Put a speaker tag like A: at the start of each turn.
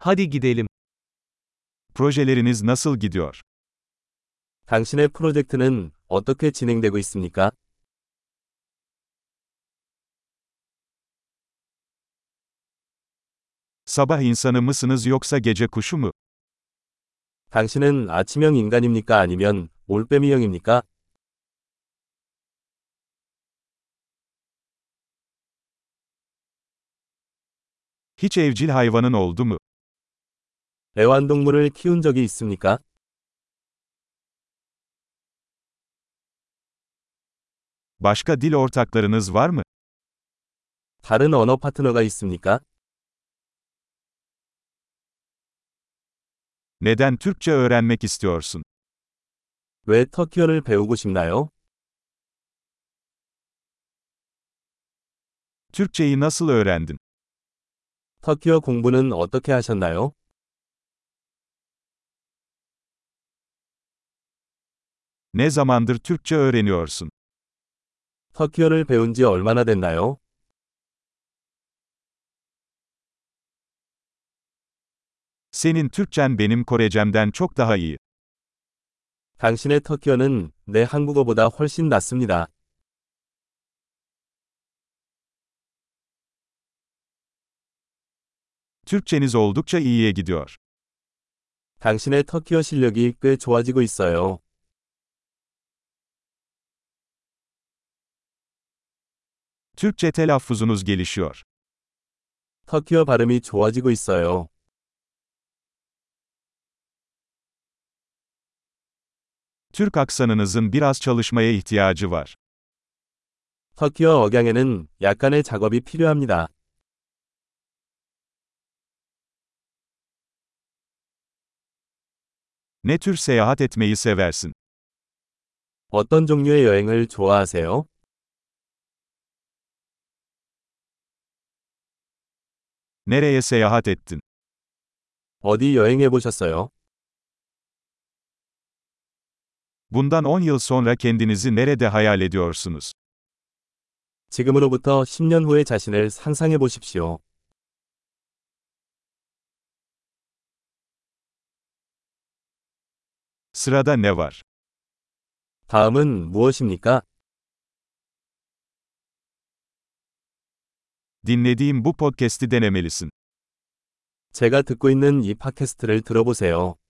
A: Hadi gidelim.
B: Projeleriniz nasıl gidiyor?
C: 당신의 프로젝트는 어떻게 진행되고 있습니까?
B: Sabah insanı mısınız yoksa gece kuşu mu?
C: 당신은 아침형 인간입니까 아니면 올빼미형입니까?
B: Hiç evcil hayvanın oldu mu?
C: 애완동물을 키운 적이 있습니까?
B: Başka dil ortaklarınız var mı?
C: 다른 언어 파트너가 있습니까?
B: Neden Türkçe öğrenmek istiyorsun?
C: 왜 터키어를 배우고 싶나요?
B: Türkçeyi nasıl öğrendin?
C: 터키어 공부는 어떻게 하셨나요?
B: Ne zamandır Türkçe öğreniyorsun?
C: 터키어를 배운 지 얼마나 됐나요?
B: Senin Türkçen benim Korecemden çok daha iyi.
C: 당신의 터키어는 내 한국어보다 훨씬 낫습니다.
B: Türkçeniz oldukça iyiye gidiyor.
C: 당신의 터키어 실력이 꽤 좋아지고 있어요.
B: Türkçe telaffuzunuz gelişiyor.
C: 터키어 발음이 좋아지고 있어요.
B: Türk aksanınızın biraz çalışmaya ihtiyacı var.
C: 터키어 억양에는 약간의 작업이 필요합니다.
B: Ne tür seyahat etmeyi seversin?
C: 어떤 종류의 여행을 좋아하세요?
B: Nereye seyahat ettin?
C: 어디 여행해 보셨어요?
B: Bundan 10 yıl sonra kendinizi nerede hayal ediyorsunuz?
C: 지금으로부터 10년 후의 자신을 상상해 보십시오.
B: Sırada ne var?
C: 다음은 무엇입니까?
B: Dinlediğim bu podcast'i denemelisin.
C: 제가 듣고 있는 이 팟캐스트를 들어보세요.